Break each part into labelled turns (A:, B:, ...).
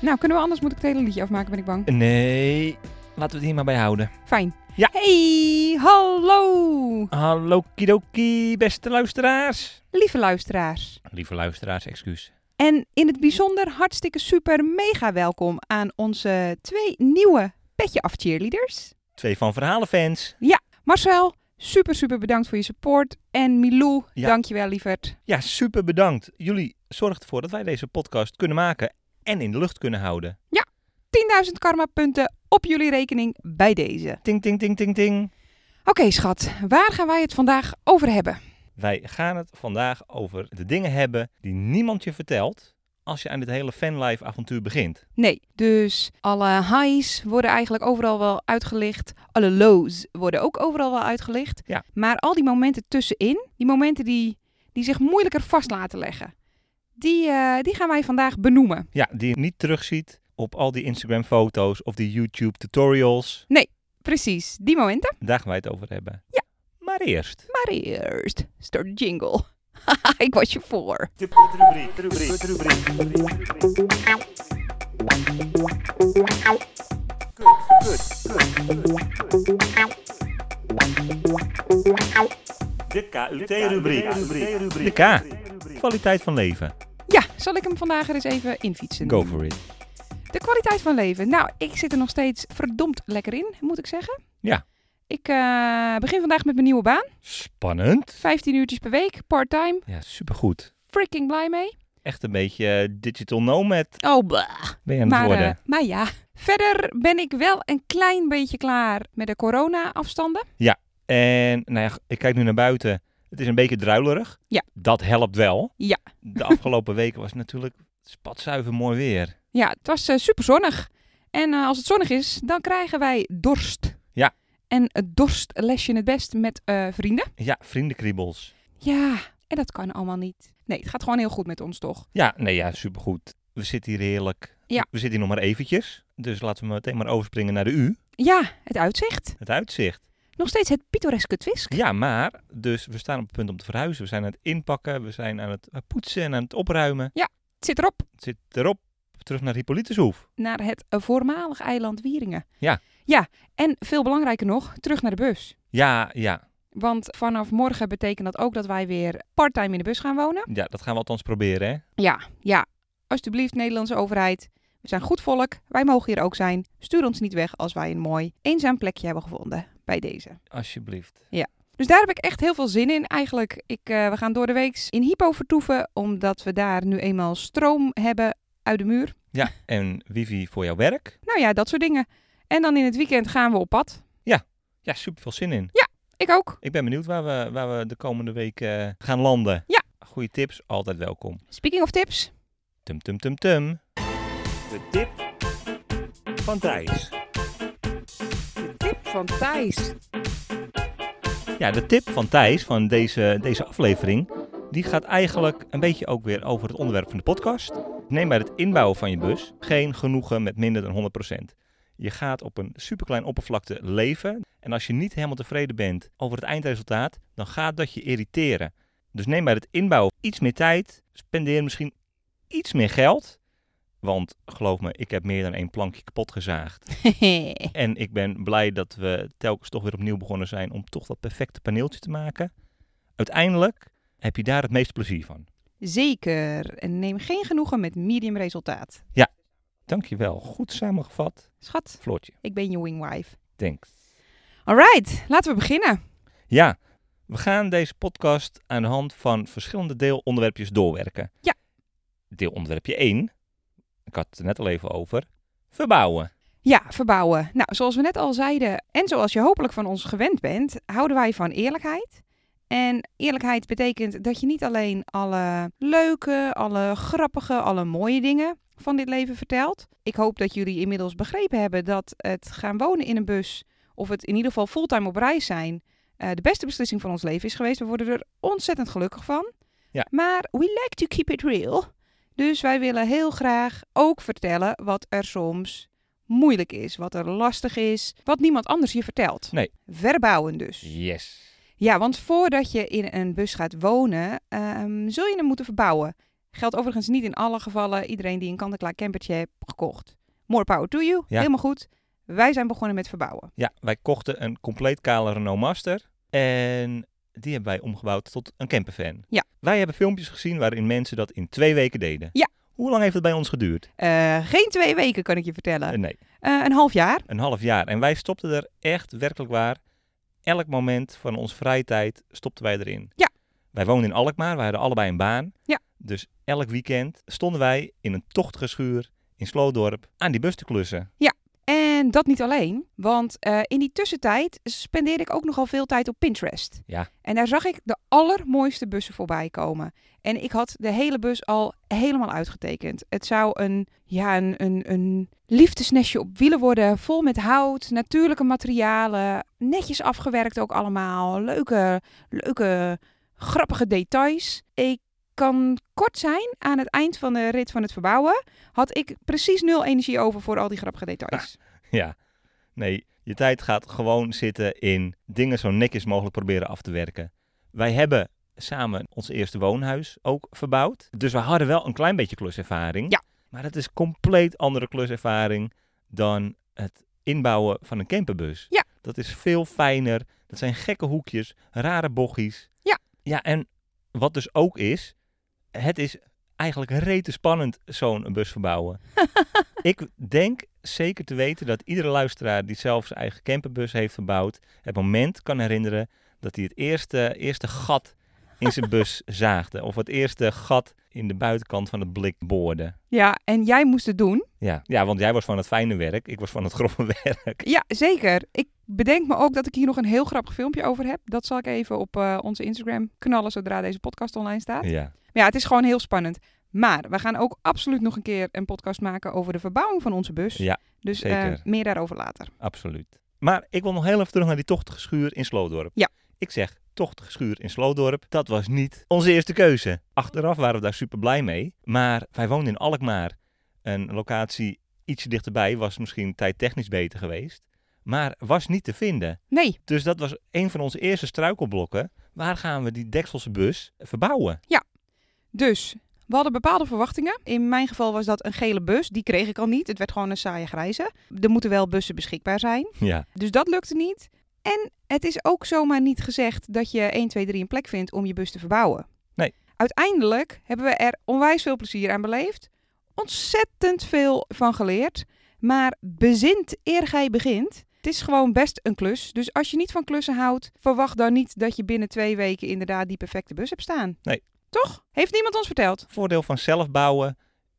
A: Nou, kunnen we anders? Moet ik het hele liedje afmaken, ben ik bang.
B: Nee, laten we het hier maar bij houden.
A: Fijn.
B: Ja.
A: Hey, hallo,
B: Hallo kidoki, beste luisteraars.
A: lieve luisteraars.
B: Lieve luisteraars, excuus.
A: En in het bijzonder hartstikke super mega welkom aan onze twee nieuwe Petje Af cheerleaders.
B: Twee Van Verhalen fans.
A: Marcel, super super bedankt voor je support. En Milou,
B: Ja.
A: dankjewel lieverd.
B: Ja, super bedankt. Jullie zorgen ervoor dat wij deze podcast kunnen maken en in de lucht kunnen houden.
A: 10.000 karma punten op jullie rekening bij deze.
B: Ting, ting, ting, ting, ting.
A: Oké schat, waar gaan wij het vandaag over hebben?
B: Wij gaan het vandaag over de dingen hebben die niemand je vertelt als je aan dit hele fanlife avontuur begint.
A: Nee, dus alle highs worden eigenlijk overal wel uitgelicht. Alle lows worden ook overal wel uitgelicht.
B: Ja.
A: Maar al die momenten tussenin, die momenten die, die zich moeilijker vast laten leggen, die, eh, die gaan wij vandaag benoemen.
B: Ja, die je niet terugziet op al die Instagram foto's of die YouTube tutorials.
A: Precies, die momenten.
B: Daar gaan wij het over hebben.
A: Ja.
B: Maar eerst.
A: Maar eerst, start de jingle. ik was je voor.
C: De KUT-rubriek.
B: De K. Kwaliteit van leven.
A: Ja, zal ik hem vandaag er eens even infietsen?
B: Go for it.
A: De kwaliteit van leven. Nou, ik zit er nog steeds verdomd lekker in, moet ik zeggen.
B: Ja.
A: Ik eh, begin vandaag met mijn nieuwe baan.
B: Spannend.
A: 15 uurtjes per week, part-time.
B: Ja, supergoed.
A: Freaking blij mee.
B: Echt een beetje eh, digital nomad
A: Oh, bah.
B: ben je aan het
A: Maar,
B: worden.
A: eh, maar ja. Verder ben ik wel een klein beetje klaar met de corona-afstanden.
B: En nou ja, ik kijk nu naar buiten. Het is een beetje druilerig.
A: Ja.
B: Dat helpt wel.
A: Ja.
B: De afgelopen weken was het natuurlijk spatzuiver mooi weer.
A: Ja, het was eh, super zonnig. En eh, als het zonnig is, dan krijgen wij dorst.
B: Ja.
A: En het dorst les je het best met eh, vrienden.
B: Ja, vriendenkriebels.
A: Ja, en dat kan allemaal niet. Nee, het gaat gewoon heel goed met ons, toch?
B: Ja, nee ja, supergoed. We zitten hier heerlijk.
A: Ja.
B: We zitten hier nog maar eventjes. Dus laten we meteen maar overspringen naar de U.
A: Ja, het uitzicht.
B: Het uitzicht.
A: Nog steeds het pittoreske Twisk.
B: Ja, maar dus we staan op het punt om te verhuizen. We zijn aan het inpakken. We zijn aan het eh, poetsen en aan het opruimen.
A: Het zit erop
B: Het zit erop. Terug naar Hippolytushoef.
A: naar het eh, voormalig eiland Wieringen.
B: Ja.
A: Ja, en veel belangrijker nog, terug naar de bus.
B: Ja, ja.
A: Want vanaf morgen betekent dat ook dat wij weer parttime in de bus gaan wonen.
B: Ja, dat gaan we althans proberen, hè.
A: Ja, ja. Alsjeblieft, Nederlandse overheid. We zijn goed volk. Wij mogen hier ook zijn. Stuur ons niet weg als wij een mooi, eenzaam plekje hebben gevonden bij deze.
B: Alsjeblieft.
A: Dus daar heb ik echt heel veel zin in eigenlijk. Ik, eh, we gaan door de week in Hypo vertoeven, omdat we daar nu eenmaal stroom hebben uit de muur.
B: Ja, en wifi voor jouw werk.
A: Nou ja, dat soort dingen. En dan in het weekend gaan we op pad.
B: Ja, super veel zin in.
A: Ik ook.
B: Ik ben benieuwd waar we, waar we de komende week eh, gaan landen.
A: Ja.
B: Goeie tips, altijd welkom.
A: Speaking of tips.
B: Tum tum tum tum.
C: De tip van Thijs.
A: De tip van Thijs.
B: Ja, de tip van Thijs van deze, deze aflevering, die gaat eigenlijk een beetje ook weer over het onderwerp van de podcast. Neem bij het inbouwen van je bus geen genoegen met minder dan 100%. Je gaat op een superklein oppervlakte leven en als je niet helemaal tevreden bent over het eindresultaat, dan gaat dat je irriteren. Dus neem bij het inbouwen iets meer tijd, spendeer misschien iets meer geld. Want geloof me, ik heb meer dan één plankje kapot gezaagd. En ik ben blij dat we telkens toch weer opnieuw begonnen zijn om toch dat perfecte paneeltje te maken. Uiteindelijk heb je daar het meeste plezier van.
A: Zeker. En neem geen genoegen met medium resultaat.
B: Dankjewel. Goed samengevat,
A: Schat,
B: Floortje.
A: ik ben je wingwife.
B: Thanks.
A: Alright, laten we beginnen.
B: Ja, we gaan deze podcast aan de hand van verschillende deelonderwerpjes doorwerken.
A: Ja.
B: Deelonderwerpje 1, ik had het er net al even over, verbouwen.
A: Ja, verbouwen. Nou, zoals we net al zeiden en zoals je hopelijk van ons gewend bent, houden wij van eerlijkheid. En eerlijkheid betekent dat je niet alleen alle leuke, alle grappige, alle mooie dingen van dit leven vertelt. Ik hoop dat jullie inmiddels begrepen hebben dat het gaan wonen in een bus, of het in ieder geval fulltime op reis zijn, eh, de beste beslissing van ons leven is geweest. We worden er ontzettend gelukkig van.
B: Ja.
A: Maar we like to keep it real. Dus wij willen heel graag ook vertellen wat er soms moeilijk is, wat er lastig is, wat niemand anders je vertelt.
B: Nee.
A: Verbouwen dus.
B: Yes.
A: Ja, want voordat je in een bus gaat wonen, ehm, zul je hem moeten verbouwen. Geldt overigens niet in alle gevallen iedereen die een kant-en-klaar campertje heeft gekocht. More power to you,
B: Ja.
A: helemaal goed. Wij zijn begonnen met verbouwen.
B: Ja, wij kochten een compleet kale Renault Master. En die hebben wij omgebouwd tot een campervan.
A: Ja.
B: Wij hebben filmpjes gezien waarin mensen dat in twee weken deden.
A: Ja.
B: Hoe lang heeft het bij ons geduurd?
A: Eh, geen twee weken kan ik je vertellen.
B: Eh, nee,
A: Eh, een half jaar.
B: een half jaar. En wij stopten er echt werkelijk waar. Elk moment van onze vrije tijd stopten wij erin.
A: Ja.
B: Wij woonden in Alkmaar, wij hadden allebei een baan.
A: Ja.
B: Dus elk weekend stonden wij in een tochtige schuur in Sloodorp aan die bus te klussen.
A: En dat niet alleen, want eh, in die tussentijd spendeerde ik ook nogal veel tijd op Pinterest.
B: Ja.
A: En daar zag ik de allermooiste bussen voorbij komen. En ik had de hele bus al helemaal uitgetekend. Het zou een, ja, een, een, een liefdesnestje op wielen worden, vol met hout, natuurlijke materialen, netjes afgewerkt ook allemaal, leuke, leuke, grappige details. Ik kan kort zijn, aan het eind van de rit van het verbouwen had ik precies nul energie over voor al die grappige details.
B: Ja. Nee, je tijd gaat gewoon zitten in dingen zo netjes mogelijk proberen af te werken. Wij hebben samen ons eerste woonhuis ook verbouwd. Dus we hadden wel een klein beetje kluservaring.
A: Ja.
B: Maar het is compleet andere kluservaring dan het inbouwen van een camperbus.
A: Ja.
B: Dat is veel fijner. Dat zijn gekke hoekjes, rare bochtjes.
A: Ja.
B: Ja, en wat dus ook is, het is eigenlijk rete spannend zo'n bus verbouwen. Ik denk zeker te weten dat iedere luisteraar die zelf zijn eigen camperbus heeft verbouwd, het moment kan herinneren dat hij het eerste, eerste gat in zijn bus zaagde. Of het eerste gat in de buitenkant van het blik boorde.
A: Ja, en jij moest het doen.
B: Ja. ja, want jij was van het fijne werk, ik was van het grove werk.
A: Ja, zeker. Ik bedenk me ook dat ik hier nog een heel grappig filmpje over heb. Dat zal ik even op eh, onze Instagram knallen zodra deze podcast online staat. Maar
B: Ja,
A: ja, het is gewoon heel spannend. Maar we gaan ook absoluut nog een keer een podcast maken over de verbouwing van onze bus.
B: Ja,
A: dus eh,
B: zeker.
A: meer daarover later.
B: absoluut. Maar ik wil nog heel even terug naar die tochtige schuur in Sloodorp.
A: Ja.
B: Ik zeg tochtige schuur in Sloodorp, dat was niet onze eerste keuze. Achteraf waren we daar super blij mee, maar wij woonden in Alkmaar. Een locatie ietsje dichterbij was misschien tijdtechnisch beter geweest, maar was niet te vinden.
A: Nee,
B: Dus dat was een van onze eerste struikelblokken. Waar gaan we die Dekselse bus verbouwen?
A: dus we hadden bepaalde verwachtingen. In mijn geval was dat een gele bus. Die kreeg ik al niet. Het werd gewoon een saaie grijze. Er moeten wel bussen beschikbaar zijn.
B: Ja,
A: Dus dat lukte niet. En het is ook zomaar niet gezegd dat je 1, 2, 3 een plek vindt om je bus te verbouwen.
B: Nee.
A: Uiteindelijk hebben we er onwijs veel plezier aan beleefd. Ontzettend veel van geleerd. Maar bezint eer gij begint. Het is gewoon best een klus. Dus als je niet van klussen houdt, verwacht dan niet dat je binnen twee weken inderdaad die perfecte bus hebt staan.
B: Nee.
A: Toch? Heeft niemand ons verteld?
B: voordeel van zelf bouwen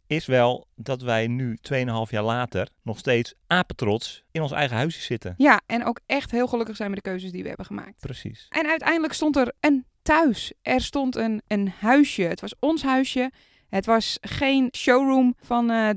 B: is wel dat wij nu 2,5 jaar later nog steeds apetrots in ons eigen huisje zitten.
A: Ja, en ook echt heel gelukkig zijn met de keuzes die we hebben gemaakt.
B: Precies.
A: En uiteindelijk stond er een thuis. Er stond een, een huisje. Het was ons huisje. Het was geen showroom van eh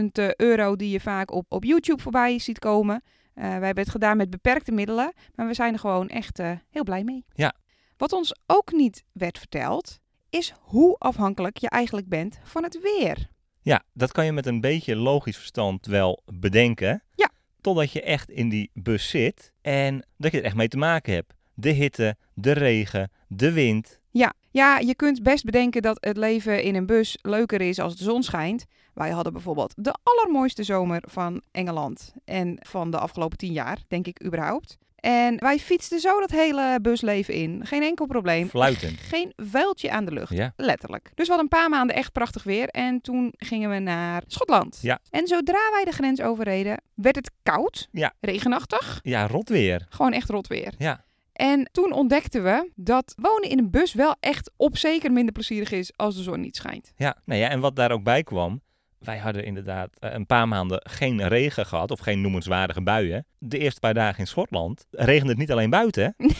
A: 30.000 euro die je vaak op, op YouTube voorbij ziet komen. Eh wij hebben het gedaan met beperkte middelen, maar we zijn er gewoon echt eh, heel blij mee.
B: Ja.
A: Wat ons ook niet werd verteld, is hoe afhankelijk je eigenlijk bent van het weer.
B: Ja, dat kan je met een beetje logisch verstand wel bedenken.
A: Ja.
B: Totdat je echt in die bus zit en dat je er echt mee te maken hebt. De hitte, de regen, de wind.
A: Ja, ja, je kunt best bedenken dat het leven in een bus leuker is als de zon schijnt. Wij hadden bijvoorbeeld de allermooiste zomer van Engeland en van de afgelopen tien jaar, denk ik überhaupt. En wij fietsten zo dat hele busleven in. Geen enkel probleem.
B: Fluitend.
A: Geen vuiltje aan de lucht.
B: Ja.
A: Letterlijk. Dus we hadden een paar maanden echt prachtig weer. En toen gingen we naar Schotland.
B: Ja.
A: En zodra wij de grens overreden, werd het koud.
B: Ja.
A: Regenachtig.
B: Ja, rot weer.
A: Gewoon echt rot weer.
B: Ja.
A: En toen ontdekten we dat wonen in een bus wel echt op zeker minder plezierig is als de zon niet schijnt.
B: Ja, nou ja, en wat daar ook bij kwam, Wij hadden inderdaad eh, een paar maanden geen regen gehad of geen noemenswaardige buien. De eerste paar dagen in Schotland regende het niet alleen buiten,
A: Nee!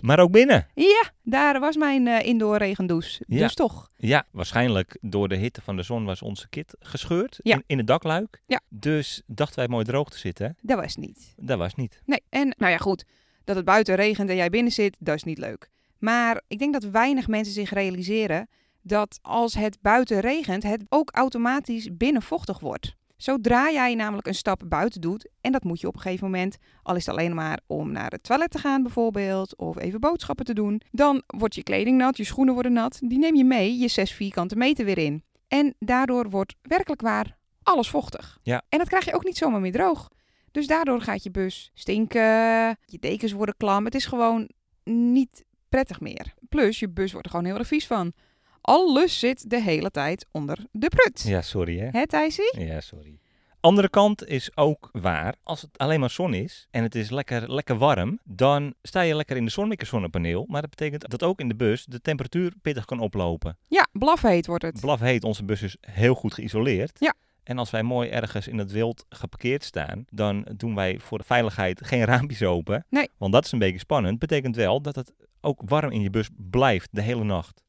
B: maar ook binnen.
A: Ja, daar was mijn eh, indoor regendoes.
B: Ja.
A: Dus toch.
B: Ja, waarschijnlijk door de hitte van de zon was onze kit gescheurd
A: Ja.
B: in, in het dakluik.
A: Ja.
B: Dus dachten wij mooi droog te zitten.
A: Dat was niet.
B: Dat was niet.
A: Nee, en nou ja, goed. Dat het buiten regent en jij binnen zit, dat is niet leuk. Maar ik denk dat weinig mensen zich realiseren dat als het buiten regent, het ook automatisch binnen vochtig wordt. Zodra jij namelijk een stap buiten doet, en dat moet je op een gegeven moment, al is het alleen maar om naar het toilet te gaan bijvoorbeeld, of even boodschappen te doen, dan wordt je kleding nat, je schoenen worden nat, die neem je mee je 6 vierkante meter weer in. En daardoor wordt werkelijk waar alles vochtig.
B: Ja.
A: En dat krijg je ook niet zomaar meer droog. Dus daardoor gaat je bus stinken, je dekens worden klam. Het is gewoon niet prettig meer. Plus, je bus wordt er gewoon heel erg vies van. Alles zit de hele tijd onder de prut.
B: Ja, sorry hè.
A: Hè, Thijsie?
B: Ja, sorry. Andere kant is ook waar. Als het alleen maar zon is en het is lekker, lekker warm, dan sta je lekker in de zon met je zonnepaneel. Maar dat betekent dat ook in de bus de temperatuur pittig kan oplopen.
A: Ja, blafheet wordt het.
B: Blaf heet, onze bus is heel goed geïsoleerd.
A: Ja.
B: En als wij mooi ergens in het wild geparkeerd staan, dan doen wij voor de veiligheid geen raampjes open.
A: Nee.
B: Want dat is een beetje spannend. Betekent wel dat het ook warm in je bus blijft de hele nacht.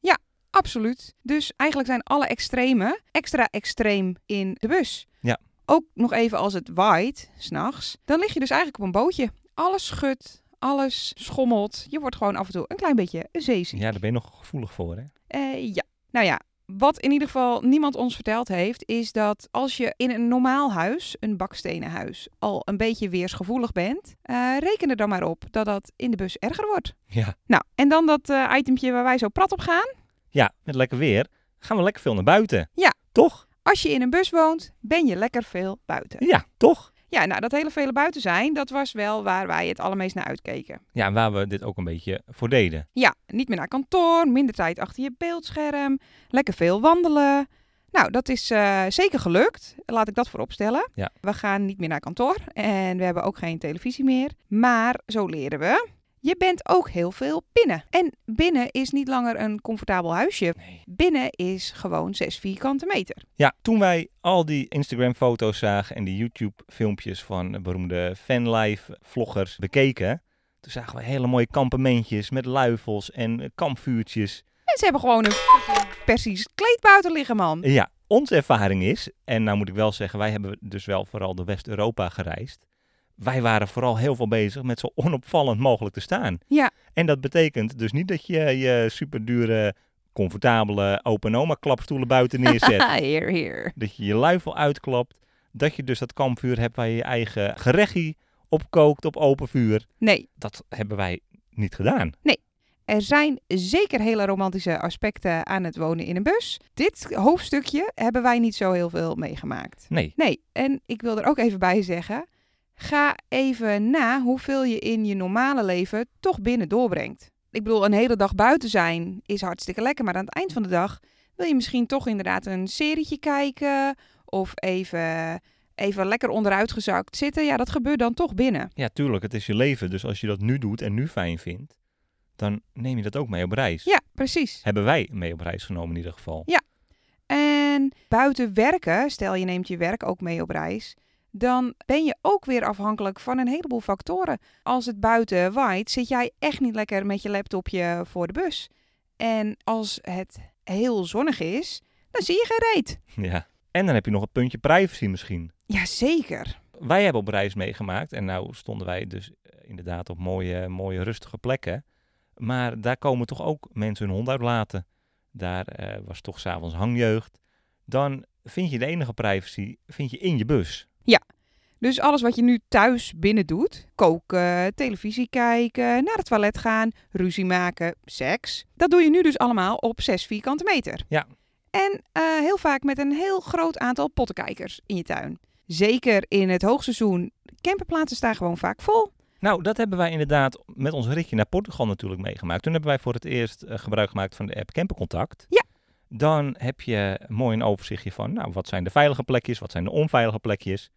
A: Absoluut. Dus eigenlijk zijn alle extremen extra extreem in de bus.
B: Ja.
A: Ook nog even als het waait, s'nachts, dan lig je dus eigenlijk op een bootje. Alles schudt, alles schommelt. Je wordt gewoon af en toe een klein beetje zeeziek.
B: Ja, daar ben je nog gevoelig voor hè.
A: Eh, ja. Nou ja, wat in ieder geval niemand ons verteld heeft, is dat als je in een normaal huis, een bakstenen huis, al een beetje weersgevoelig bent, eh, reken er dan maar op dat dat in de bus erger wordt.
B: Ja.
A: Nou, en dan dat eh itempje waar wij zo prat op gaan.
B: Ja, met lekker weer gaan we lekker veel naar buiten.
A: Ja.
B: Toch?
A: Als je in een bus woont, ben je lekker veel buiten.
B: Ja, toch?
A: Ja, nou, dat hele vele buiten zijn, dat was wel waar wij het allermeest naar uitkeken.
B: Ja, en waar we dit ook een beetje voor deden.
A: Ja, niet meer naar kantoor, minder tijd achter je beeldscherm, lekker veel wandelen. Nou, dat is eh, zeker gelukt. Laat ik dat vooropstellen.
B: Ja.
A: We gaan niet meer naar kantoor en we hebben ook geen televisie meer. Maar zo leren we. Je bent ook heel veel binnen. En binnen is niet langer een comfortabel huisje.
B: Nee.
A: Binnen is gewoon 6 vierkante meter.
B: Ja, toen wij al die Instagram-foto's zagen en die YouTube-filmpjes van beroemde fanlife-vloggers bekeken, toen zagen we hele mooie kampementjes met luifels en eh, kampvuurtjes.
A: En ze hebben gewoon een persisch kleed buiten liggen, man.
B: En Ja, onze ervaring is, en nou moet ik wel zeggen, wij hebben dus wel vooral door West-Europa gereisd. Wij waren vooral heel veel bezig met zo onopvallend mogelijk te staan.
A: Ja.
B: En dat betekent dus niet dat je je superdure, comfortabele open-oma-klapstoelen buiten neerzet.
A: Heer, heer.
B: dat je je luifel uitklapt, dat je dus dat kampvuur hebt waar je je eigen gerechtje op kookt op open vuur.
A: Nee,
B: Dat hebben wij niet gedaan.
A: Er zijn zeker hele romantische aspecten aan het wonen in een bus. Dit hoofdstukje hebben wij niet zo heel veel meegemaakt.
B: Nee.
A: Nee, en ik wil er ook even bij zeggen: ga even na hoeveel je in je normale leven toch binnen doorbrengt. Ik bedoel, een hele dag buiten zijn is hartstikke lekker, maar aan het eind van de dag wil je misschien toch inderdaad een serietje kijken of even, even lekker onderuitgezakt zitten. Ja, dat gebeurt dan toch binnen.
B: Ja, tuurlijk, het is je leven. Dus als je dat nu doet en nu fijn vindt, dan neem je dat ook mee op reis.
A: Ja, precies.
B: Hebben wij mee op reis genomen in ieder geval.
A: En buiten werken, stel je neemt je werk ook mee op reis, dan ben je ook weer afhankelijk van een heleboel factoren. Als het buiten waait, zit jij echt niet lekker met je laptopje voor de bus. En als het heel zonnig is, dan zie je geen reet.
B: Ja. En dan heb je nog het puntje privacy misschien.
A: Jazeker.
B: Wij hebben op reis meegemaakt en nou stonden wij dus eh, inderdaad op mooie, mooie rustige plekken. Maar daar komen toch ook mensen hun hond uitlaten. Daar eh, was toch s'avonds hangjeugd. Dan vind je de enige privacy vind je in je bus.
A: Dus alles wat je nu thuis binnen doet, koken, televisie kijken, naar het toilet gaan, ruzie maken, seks, dat doe je nu dus allemaal op 6 vierkante meter.
B: Ja.
A: En eh, heel vaak met een heel groot aantal pottenkijkers in je tuin. Zeker in het hoogseizoen, camperplaatsen staan gewoon vaak vol.
B: Nou, dat hebben wij inderdaad met ons ritje naar Portugal natuurlijk meegemaakt. Toen hebben wij voor het eerst eh, gebruik gemaakt van de app Campercontact.
A: Ja.
B: Dan heb je mooi een overzichtje van, nou, wat zijn de veilige plekjes, wat zijn de onveilige plekjes.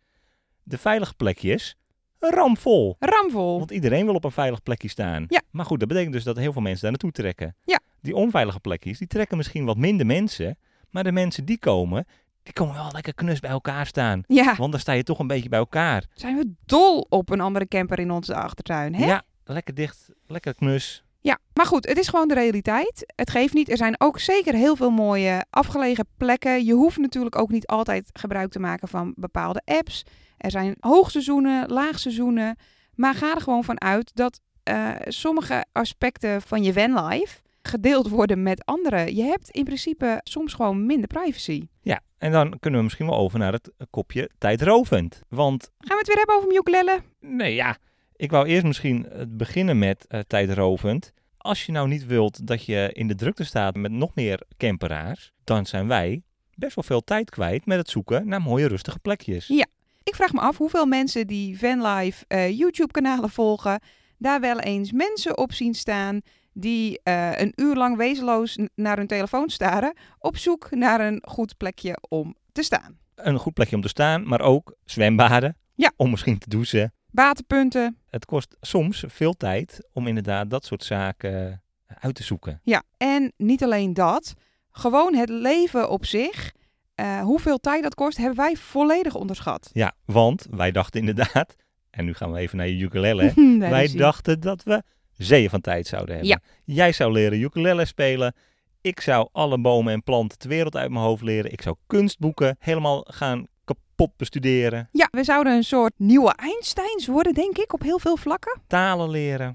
B: De veilige plekjes, ramvol.
A: Ramvol.
B: Want iedereen wil op een veilig plekje staan.
A: Ja.
B: Maar goed, dat betekent dus dat heel veel mensen daar naartoe trekken.
A: Ja.
B: Die onveilige plekjes, die trekken misschien wat minder mensen. Maar de mensen die komen, die komen wel lekker knus bij elkaar staan.
A: Ja,
B: Want dan sta je toch een beetje bij elkaar.
A: zijn we dol op een andere camper in onze achtertuin, hè?
B: Ja, lekker dicht, lekker knus.
A: Ja, maar goed, het is gewoon de realiteit. Het geeft niet. Er zijn ook zeker heel veel mooie afgelegen plekken. Je hoeft natuurlijk ook niet altijd gebruik te maken van bepaalde apps. Er zijn hoogseizoenen, laagseizoenen. Maar ga er gewoon van uit dat eh, sommige aspecten van je vanlife gedeeld worden met anderen. Je hebt in principe soms gewoon minder privacy.
B: Ja, en dan kunnen we misschien wel over naar het kopje tijdrovend. Want
A: Gaan we het weer hebben over ukulele?
B: Nee, ja. Ik wou eerst misschien eh, beginnen met eh, tijdrovend. Als je nou niet wilt dat je in de drukte staat met nog meer camperaars, dan zijn wij best wel veel tijd kwijt met het zoeken naar mooie rustige plekjes.
A: Ja. Ik vraag me af hoeveel mensen die Vanlife eh, YouTube-kanalen volgen, daar wel eens mensen op zien staan die eh, een uur lang wezenloos n- naar hun telefoon staren, op zoek naar een goed plekje om te staan.
B: Een goed plekje om te staan, maar ook zwembaden.
A: Ja.
B: Om misschien te douchen.
A: Waterpunten,
B: Het kost soms veel tijd om inderdaad dat soort zaken uit te zoeken.
A: ja. En niet alleen dat, gewoon het leven op zich, eh, hoeveel tijd dat kost, hebben wij volledig onderschat.
B: Ja, want wij dachten inderdaad, en nu gaan we even naar je ukulele.
A: Daar
B: Wij
A: is ie.
B: dachten dat we zeeën van tijd zouden hebben. Jij zou leren ukulele spelen. Ik zou alle bomen en planten ter wereld uit mijn hoofd leren. Ik zou kunstboeken helemaal gaan kapot bestuderen.
A: Ja, we zouden een soort nieuwe Einsteins worden, denk ik, op heel veel vlakken.
B: Talen leren.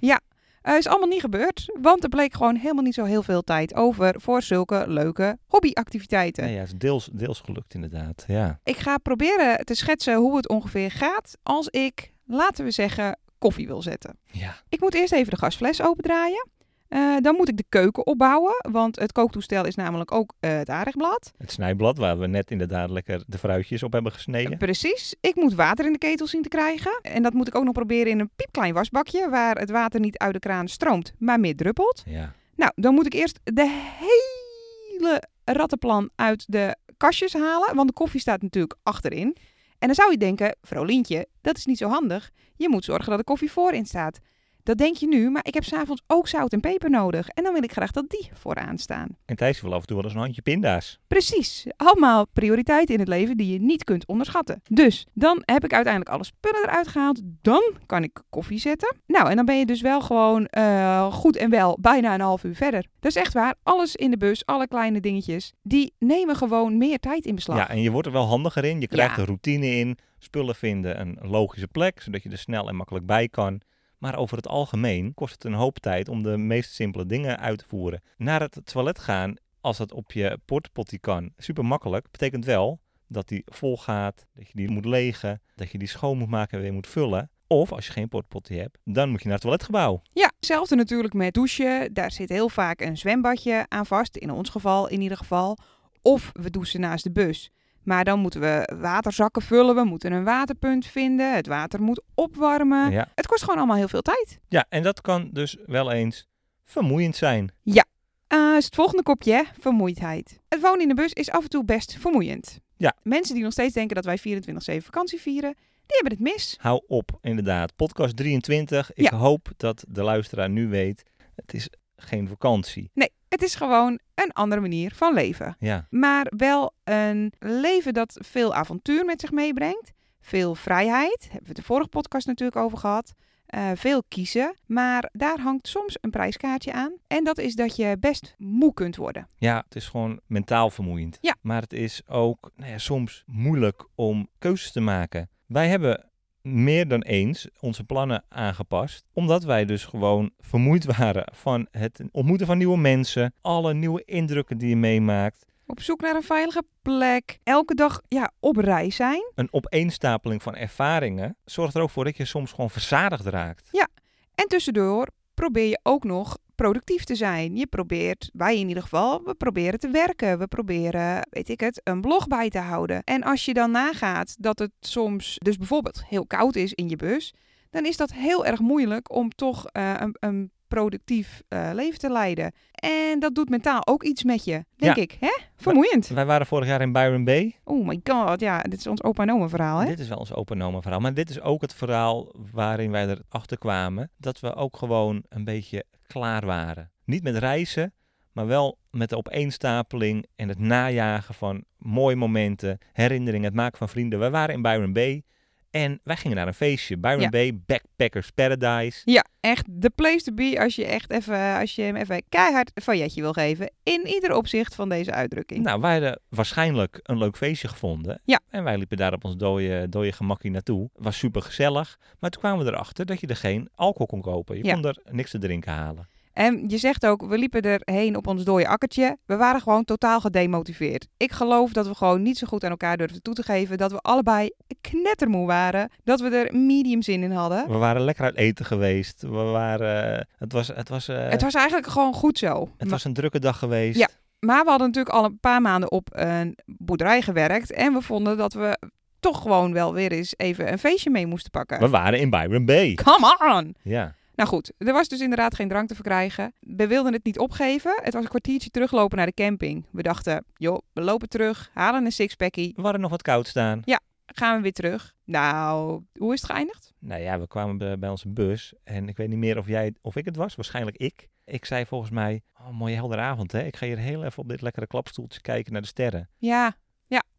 A: Eh, is allemaal niet gebeurd, want er bleek gewoon helemaal niet zo heel veel tijd over voor zulke leuke hobbyactiviteiten.
B: Nee, ja, het is deels, deels gelukt inderdaad. Ja.
A: Ik ga proberen te schetsen hoe het ongeveer gaat als ik, laten we zeggen, koffie wil zetten.
B: ja.
A: Ik moet eerst even de gasfles opendraaien. Eh, dan moet ik de keuken opbouwen, want het kooktoestel is namelijk ook eh, het aardigblad.
B: Het snijblad waar we net inderdaad lekker de fruitjes op hebben gesneden.
A: Precies. Ik moet water in de ketel zien te krijgen. En dat moet ik ook nog proberen in een piepklein wasbakje, waar het water niet uit de kraan stroomt, maar meer druppelt.
B: Ja.
A: Nou, dan moet ik eerst de hele rattenplan uit de kastjes halen. Want de koffie staat natuurlijk achterin. En dan zou je denken, Vrolientje, dat is niet zo handig. Je moet zorgen dat de koffie voorin staat. Dat denk je nu, maar ik heb s'avonds ook zout en peper nodig. En dan wil ik graag dat die vooraan staan.
B: En Thijs wil af en toe wel eens een handje pinda's.
A: Precies, allemaal prioriteiten in het leven die je niet kunt onderschatten. Dus dan heb ik uiteindelijk alle spullen eruit gehaald. Dan kan ik koffie zetten. Nou, en dan ben je dus wel gewoon eh, goed en wel bijna een half uur verder. Dat is echt waar. Alles in de bus, alle kleine dingetjes, die nemen gewoon meer tijd in beslag.
B: Ja, en je wordt er wel handiger in. Je krijgt
A: Ja.
B: een routine in. Spullen vinden een logische plek, zodat je er snel en makkelijk bij kan. Maar over het algemeen kost het een hoop tijd om de meest simpele dingen uit te voeren. Naar het toilet gaan, als dat op je portpotty kan, super makkelijk. Betekent wel dat die vol gaat, dat je die moet legen, dat je die schoon moet maken en weer moet vullen. Of als je geen portpotty hebt, dan moet je naar het toiletgebouw.
A: Ja, hetzelfde natuurlijk met douchen. Daar zit heel vaak een zwembadje aan vast, in ons geval in ieder geval. Of we douchen naast de bus. Maar dan moeten we waterzakken vullen, we moeten een waterpunt vinden, het water moet opwarmen.
B: Ja.
A: Het kost gewoon allemaal heel veel tijd.
B: ja, en dat kan dus wel eens vermoeiend zijn.
A: Eh, is het volgende kopje, hè? vermoeidheid. Het wonen in de bus is af en toe best vermoeiend.
B: Ja.
A: Mensen die nog steeds denken dat wij 24-7 vakantie vieren, die hebben het mis.
B: Hou op, inderdaad. Podcast 23. Ik
A: Ja.
B: hoop dat de luisteraar nu weet, het is geen vakantie.
A: Nee, het is gewoon een andere manier van leven.
B: Ja,
A: maar wel een leven dat veel avontuur met zich meebrengt. Veel vrijheid, hebben we het de vorige podcast natuurlijk over gehad. Eh, veel kiezen, maar daar hangt soms een prijskaartje aan. En dat is dat je best moe kunt worden.
B: ja het is gewoon mentaal vermoeiend.
A: Ja.
B: Maar het is ook nou ja, soms moeilijk om keuzes te maken. Wij hebben meer dan eens onze plannen aangepast, omdat wij dus gewoon vermoeid waren van het ontmoeten van nieuwe mensen, alle nieuwe indrukken die je meemaakt,
A: Op zoek naar een veilige plek. Elke dag ja, op reis zijn.
B: een opeenstapeling van ervaringen zorgt er ook voor dat je soms gewoon verzadigd raakt.
A: En tussendoor probeer je ook nog productief te zijn. Je probeert, wij in ieder geval, we proberen te werken. We proberen, weet ik het, een blog bij te houden. En als je dan nagaat dat het soms dus bijvoorbeeld heel koud is in je bus, dan is dat heel erg moeilijk om toch eh, een, een productief eh, leven te leiden. En dat doet mentaal ook iets met je, denk ik. Hè? Vermoeiend.
B: Wij waren vorig jaar in Byron Bay.
A: Oh my god, ja, dit is ons opa en oma verhaal, hè?
B: Dit is wel ons openomen verhaal. Maar dit is ook het verhaal waarin wij erachter kwamen dat we ook gewoon een beetje klaar waren. Niet met reizen, maar wel met de opeenstapeling en het najagen van mooie momenten, herinneringen, het maken van vrienden. We waren in Byron Bay en wij gingen naar een feestje. Byron
A: Ja.
B: Bay, Backpackers Paradise.
A: Ja, echt de place to be als je, echt even, als je hem even keihard een failletje wil geven. In ieder opzicht van deze uitdrukking.
B: Nou, wij hadden waarschijnlijk een leuk feestje gevonden.
A: Ja.
B: En wij liepen daar op ons dode, dode gemakkie naartoe. Was super gezellig. Maar toen kwamen we erachter dat je er geen alcohol kon kopen. Je
A: Ja.
B: kon er niks te drinken halen.
A: En je zegt ook, we liepen erheen op ons dode akkertje. We waren gewoon totaal gedemotiveerd. Ik geloof dat we gewoon niet zo goed aan elkaar durfden toe te geven. Dat we allebei knettermoe waren. Dat we er medium zin in hadden.
B: We waren lekker uit eten geweest. We waren, eh, het, was, het, was, eh,
A: Het was eigenlijk gewoon goed zo.
B: het was een drukke dag geweest.
A: Ja. Maar we hadden natuurlijk al een paar maanden op een boerderij gewerkt. En we vonden dat we toch gewoon wel weer eens even een feestje mee moesten pakken.
B: We waren in Byron Bay.
A: Come on!
B: Ja.
A: Nou goed, er was dus inderdaad geen drank te verkrijgen. We wilden het niet opgeven. Het was een kwartiertje teruglopen naar de camping. We dachten, joh, we lopen terug, halen een sixpackie,
B: We hadden nog wat koud staan.
A: gaan we weer terug. Nou, hoe is het geëindigd?
B: Nou ja, we kwamen bij, bij onze bus. En ik weet niet meer of jij of ik het was. Waarschijnlijk ik. Ik zei volgens mij, oh, mooie heldere avond hè. Ik ga hier heel even op dit lekkere klapstoeltje kijken naar de sterren.
A: Ja,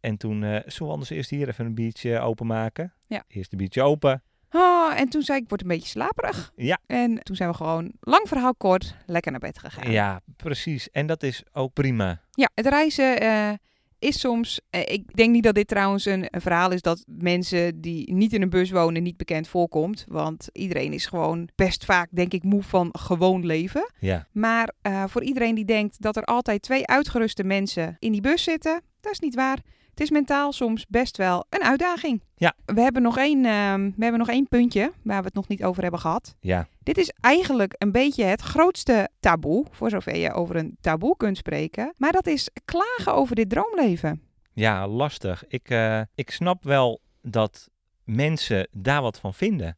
B: En toen, eh zullen we anders eerst hier even een biertje openmaken?
A: Ja.
B: Eerst een biertje open.
A: Ah, en toen zei ik, ik word een beetje slaperig.
B: Ja.
A: En toen zijn we gewoon, lang verhaal kort, lekker naar bed
B: Ja,
A: gegaan.
B: precies. En dat is ook prima.
A: Ja, het reizen eh, is soms. eh, ik denk niet dat dit trouwens een, een verhaal is dat mensen die niet in een bus wonen niet bekend voorkomt. Want iedereen is gewoon best vaak, denk ik, moe van gewoon leven.
B: Ja.
A: Maar eh, voor iedereen die denkt dat er altijd twee uitgeruste mensen in die bus zitten, dat is niet waar. Het is mentaal soms best wel een uitdaging.
B: Ja.
A: We hebben nog één, ehm, we hebben nog één puntje waar we het nog niet over hebben gehad.
B: Ja.
A: Dit is eigenlijk een beetje het grootste taboe, voor zover je over een taboe kunt spreken. Maar dat is klagen over dit droomleven.
B: Ja, lastig. Ik, eh, ik snap wel dat mensen daar wat van vinden.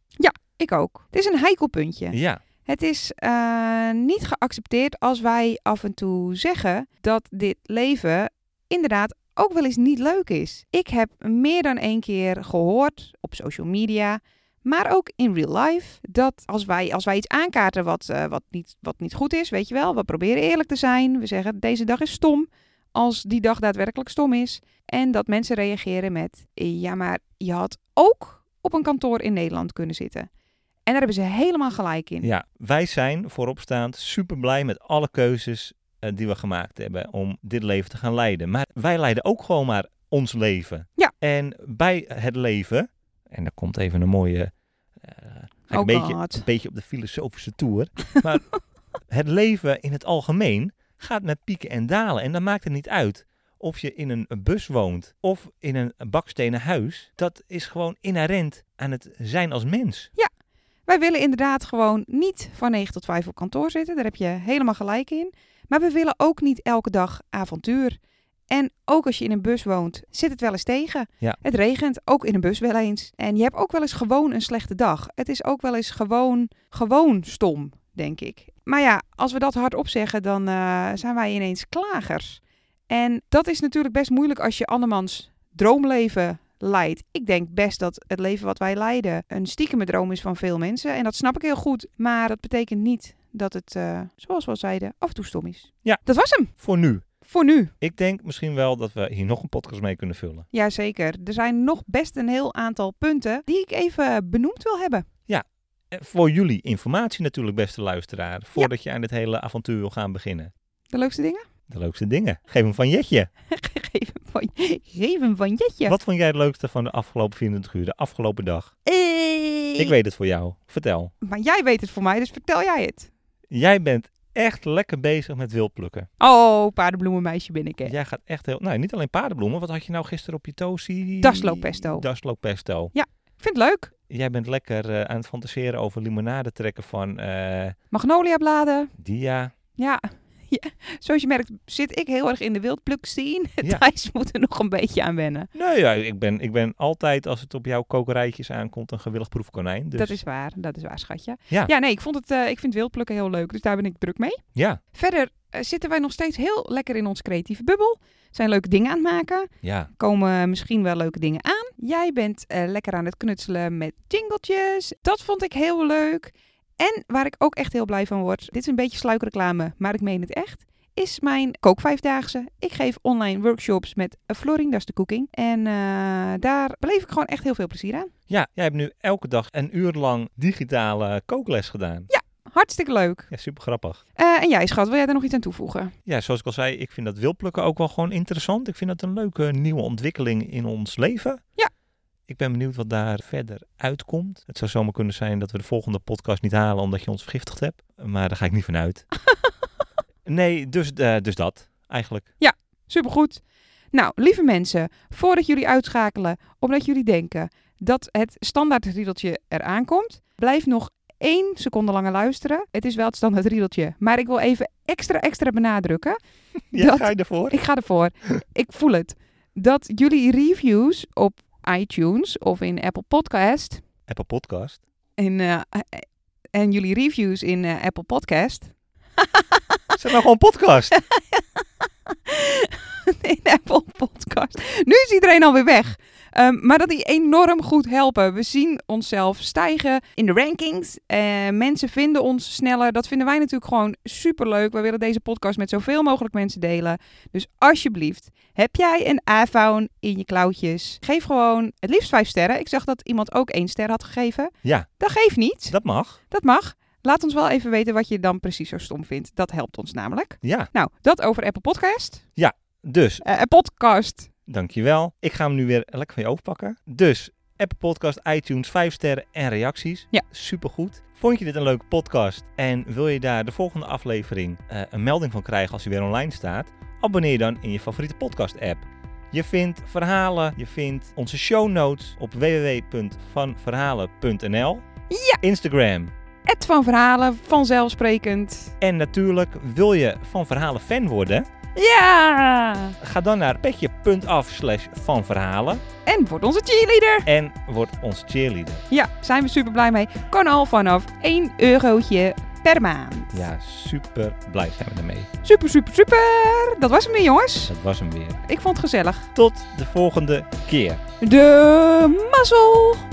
A: Ik ook. Het is een heikel puntje.
B: Ja.
A: Het is eh, niet geaccepteerd als wij af en toe zeggen dat dit leven inderdaad ook wel eens niet leuk is. Ik heb meer dan één keer gehoord op social media, maar ook in real life, dat als wij, als wij iets aankaarten wat, eh, wat, niet, wat niet goed is, weet je wel, we proberen eerlijk te zijn, we zeggen deze dag is stom, als die dag daadwerkelijk stom is, en dat mensen reageren met, ja maar je had ook op een kantoor in Nederland kunnen zitten. En daar hebben ze helemaal gelijk in.
B: ja. Wij zijn vooropstaand super blij met alle keuzes eh, die we gemaakt hebben om dit leven te gaan leiden. Maar wij leiden ook gewoon maar ons leven.
A: Ja.
B: En bij het leven, en daar komt even een mooie. eh, ga ik
A: Oh
B: een beetje,
A: God.
B: een beetje op de filosofische toer. Maar het leven in het algemeen gaat met pieken en dalen. En dan maakt het niet uit of je in een bus woont of in een bakstenen huis. Dat is gewoon inherent aan het zijn als mens.
A: Wij willen inderdaad gewoon niet van 9 tot 5 op kantoor zitten. Daar heb je helemaal gelijk in. Maar we willen ook niet elke dag avontuur. En ook als je in een bus woont, zit het wel eens tegen.
B: Ja.
A: Het regent, ook in een bus wel eens. En je hebt ook wel eens gewoon een slechte dag. Het is ook wel eens gewoon, gewoon stom, denk ik. Maar ja, als we dat hardop zeggen, dan eh, zijn wij ineens klagers. En dat is natuurlijk best moeilijk als je andermans droomleven leidt. Ik denk best dat het leven wat wij leiden een stiekeme droom is van veel mensen. En dat snap ik heel goed. Maar dat betekent niet dat het, eh, zoals we al zeiden, af en toe stom is.
B: Ja.
A: Dat was hem
B: Voor nu.
A: voor nu.
B: Ik denk misschien wel dat we hier nog een podcast mee kunnen vullen.
A: Jazeker. Er zijn nog best een heel aantal punten die ik even benoemd wil hebben.
B: Eh, Voor jullie informatie natuurlijk, beste luisteraar. Voordat je aan dit hele avontuur wil gaan beginnen.
A: De leukste dingen?
B: De leukste dingen. Geef hem van Jetje.
A: Geef hem van, geef hem van Jetje.
B: Wat vond jij het leukste van de afgelopen 24 uur, de afgelopen dag?
A: Eh,
B: Ik weet het voor jou. Vertel.
A: Maar jij weet het voor mij, dus vertel jij het.
B: Jij bent echt lekker bezig met wildplukken.
A: Oh, paardenbloemenmeisje ben ik hè.
B: Jij gaat echt heel... Nou, niet alleen paardenbloemen. Wat had je nou gisteren op je toastie?
A: Daslooppesto.
B: Daslooppesto.
A: Ik vind het leuk.
B: Jij bent lekker eh, aan het fantaseren over limonade trekken van eh,
A: Magnoliabladen.
B: Dia.
A: Ja. ja. Zoals je merkt zit ik heel erg in de wildpluk scene.
B: Ja.
A: Thijs moet er nog een beetje aan wennen.
B: Nou ja, ik ben, ik ben altijd, als het op jouw kokerijtjes aankomt, een gewillig proefkonijn. Dus
A: Dat is waar, dat is waar schatje.
B: Ja.
A: ja nee, ik, vond het, eh, ik vind wildplukken heel leuk, dus daar ben ik druk mee.
B: ja,
A: Verder eh, zitten wij nog steeds heel lekker in ons creatieve bubbel. Zijn leuke dingen aan het maken.
B: ja.
A: Komen misschien wel leuke dingen aan. Jij bent eh, lekker aan het knutselen met jingeltjes. Dat vond ik heel leuk. En waar ik ook echt heel blij van word. Dit is een beetje sluikreclame, maar ik meen het echt. is mijn kookvijfdaagse. Ik geef online workshops met eh, Florinda's de Cooking. En eh, daar beleef ik gewoon echt heel veel plezier aan.
B: Ja, jij hebt nu elke dag een uur lang digitale kookles gedaan.
A: Hartstikke leuk.
B: Ja, super grappig.
A: Eh, en jij, schat, wil jij daar nog iets aan toevoegen?
B: Ja, zoals ik al zei, ik vind dat wilplukken ook wel gewoon interessant. Ik vind dat een leuke nieuwe ontwikkeling in ons leven.
A: Ja.
B: Ik ben benieuwd wat daar verder uitkomt. Het zou zomaar kunnen zijn dat we de volgende podcast niet halen omdat je ons vergiftigd hebt. Maar daar ga ik niet van uit. nee, dus, eh, dus dat eigenlijk.
A: Supergoed. Nou, lieve mensen, voordat jullie uitschakelen, omdat jullie denken dat het standaard riedeltje eraan komt, blijf nog één seconde langer luisteren. Het is wel het standaard riedeltje, maar ik wil even extra, extra benadrukken.
B: Ja,
A: Dat-
B: ga je ervoor?
A: Ik ga ervoor. Ik voel het. Dat jullie reviews op iTunes of in Apple Podcast
B: Apple Podcast.
A: en, eh, en jullie reviews in eh, Apple Podcast
B: Zet nou gewoon podcast.
A: in Apple Podcast. Nu is iedereen alweer weg. Ehm, maar dat die enorm goed helpen. We zien onszelf stijgen in de rankings. Eh, mensen vinden ons sneller. Dat vinden wij natuurlijk gewoon superleuk. We willen deze podcast met zoveel mogelijk mensen delen. Dus alsjeblieft, heb jij een iPhone in je klauwtjes? Geef gewoon het liefst vijf sterren. Ik zag dat iemand ook één ster had gegeven.
B: Ja.
A: Dat geeft niet.
B: Dat mag.
A: Dat mag. Laat ons wel even weten wat je dan precies zo stom vindt. Dat helpt ons namelijk.
B: Ja,
A: Nou, dat over Apple Podcast.
B: dus
A: Eh, eh, podcast.
B: Dankjewel. Ik ga hem nu weer lekker van je overpakken. Dus Apple Podcast, iTunes, 5 sterren en reacties.
A: Ja.
B: Supergoed. Vond je dit een leuke podcast en wil je daar de volgende aflevering eh, een melding van krijgen als hij weer online staat? Abonneer je dan in je favoriete podcast app. Je vindt verhalen, je vindt onze show notes op www.vanverhalen.nl.
A: Ja.
B: Instagram.
A: Ed van Verhalen, vanzelfsprekend.
B: En natuurlijk wil je van verhalen fan worden?
A: Ja!
B: Ga dan naar petje.af slash van verhalen
A: En wordt onze cheerleader.
B: en word ons cheerleader.
A: Ja, zijn we super blij mee. Kan al vanaf 1 eurotje per maand.
B: Ja, super blij zijn we ermee.
A: Super, super, super. Dat was hem weer, jongens.
B: Dat was hem weer.
A: Ik vond het gezellig.
B: Tot de volgende keer.
A: De mazzel.